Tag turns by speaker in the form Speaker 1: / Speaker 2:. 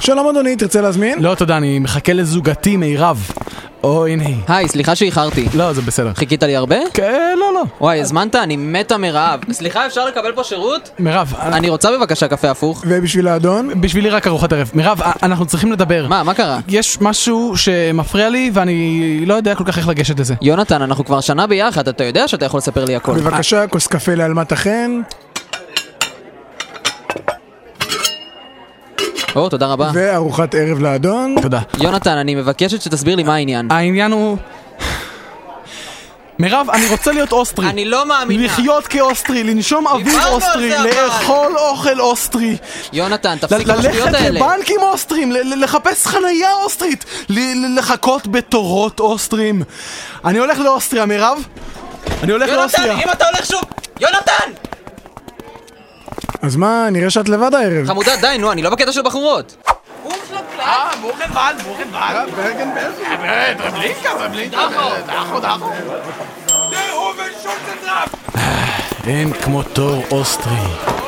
Speaker 1: שלום אדוני, תרצה להזמין?
Speaker 2: לא, תודה, אני מחכה לזוגתי מירב. או, הנה היא.
Speaker 3: היי, סליחה שאיחרתי.
Speaker 2: לא, זה בסדר.
Speaker 3: חיכית לי הרבה?
Speaker 2: כן, לא, לא.
Speaker 3: וואי, הזמנת? אני מתה מרעב. סליחה, אפשר לקבל פה שירות?
Speaker 2: מירב,
Speaker 3: אני רוצה בבקשה קפה הפוך.
Speaker 1: ובשביל האדון?
Speaker 2: בשבילי רק ארוחת ערב. מירב, א- אנחנו צריכים לדבר.
Speaker 3: מה, מה קרה?
Speaker 2: יש משהו שמפריע לי ואני לא יודע כל כך איך לגשת לזה.
Speaker 3: יונתן, אנחנו כבר שנה ביחד, אתה יודע שאתה יכול לספר לי הכל.
Speaker 1: בבקשה, כוס קפה לאלמת החן,
Speaker 3: או, תודה רבה.
Speaker 1: וארוחת ערב לאדון.
Speaker 2: תודה.
Speaker 3: יונתן, אני מבקשת שתסביר לי מה העניין.
Speaker 2: העניין הוא... מירב, אני רוצה להיות אוסטרי.
Speaker 3: אני לא מאמינה.
Speaker 2: לחיות כאוסטרי, לנשום אוויר
Speaker 3: דיברנו על
Speaker 2: אוסטרי,
Speaker 3: זה, אבל.
Speaker 2: לאכול אוכל אוסטרי,
Speaker 3: יונתן,
Speaker 2: ל-
Speaker 3: תפסיק עם השטויות
Speaker 2: ללכת
Speaker 3: האלה.
Speaker 2: לבנקים אוסטרים, ל- ל- לחפש חנייה אוסטרית, ל- ל- לחכות בתורות אוסטרים. אני הולך לאוסטריה, מירב. אני הולך לאוסטריה.
Speaker 3: יונתן, אם אתה הולך שוב... יונתן!
Speaker 1: אז מה, נראה שאת לבד הערב.
Speaker 3: חמודה, די, נו, אני לא בקטע של בחורות.
Speaker 2: אין כמו תור אוסטרי.